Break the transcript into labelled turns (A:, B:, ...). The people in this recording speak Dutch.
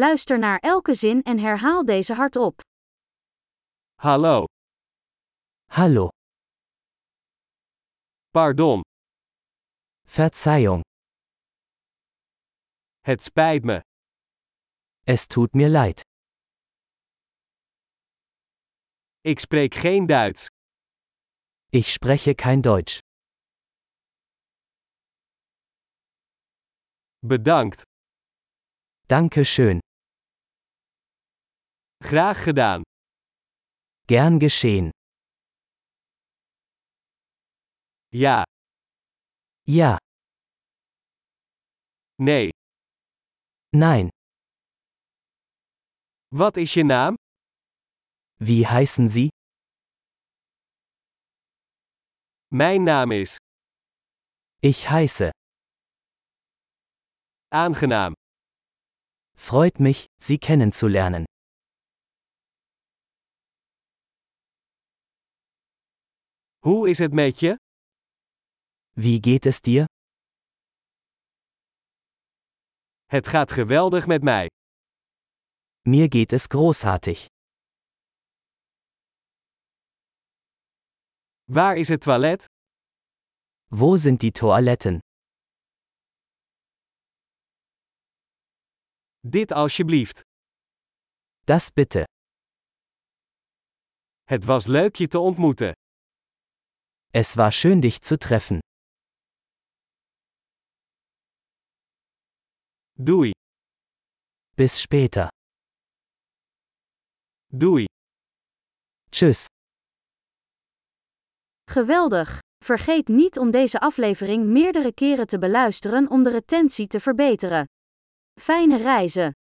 A: Luister naar elke zin en herhaal deze hardop.
B: Hallo,
C: Hallo,
B: pardon,
C: Verzeihung,
B: het spijt me,
C: es tut mir leid.
B: ik spreek geen Duits.
C: Ich spreche kein Deutsch.
B: Bedankt,
C: Danke schön.
B: graag gedaan.
C: Gern geschehen.
B: Ja,
C: Ja,
B: nee,
C: nein.
B: wat is je naam?
C: Wie heißen Sie?
B: Mijn naam is,
C: Ich heiße.
B: aangenaam.
C: Freut mich, Sie kennenzulernen.
B: Hoe is het met je?
C: Wie geht es dir?
B: Het gaat geweldig met mij.
C: Mir geht es großartig.
B: Waar is het toilet?
C: Wo sind die Toiletten?
B: Dit alsjeblieft.
C: Das bitte.
B: Het was leuk je te ontmoeten.
C: Es war schön, dich zu treffen.
B: Doei,
C: Bis später.
B: doei.
C: Tschüss.
A: Geweldig! Vergeet niet om deze aflevering meerdere keren te beluisteren om de retentie te verbeteren. Fijne reizen!